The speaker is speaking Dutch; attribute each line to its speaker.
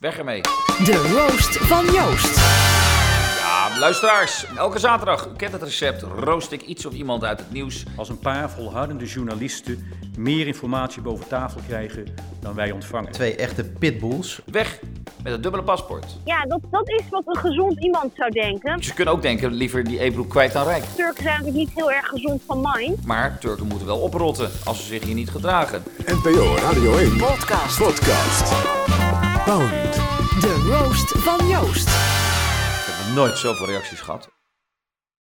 Speaker 1: Weg ermee.
Speaker 2: De roast van Joost.
Speaker 1: Ja, luisteraars. Elke zaterdag, u kent het recept, roost ik iets of iemand uit het nieuws.
Speaker 3: Als een paar volhardende journalisten meer informatie boven tafel krijgen dan wij ontvangen.
Speaker 4: Twee echte pitbulls.
Speaker 1: Weg met het dubbele paspoort.
Speaker 5: Ja, dat, dat is wat een gezond iemand zou denken.
Speaker 1: Ze kunnen ook denken, liever die Ebroek kwijt dan rijk.
Speaker 5: Turken zijn eigenlijk niet heel erg gezond van mind.
Speaker 1: Maar Turken moeten wel oprotten als ze zich hier niet gedragen.
Speaker 6: NPO Radio 1
Speaker 2: Podcast.
Speaker 6: Podcast. Pound.
Speaker 2: De roast van Joost.
Speaker 1: Ik heb nog nooit zoveel reacties gehad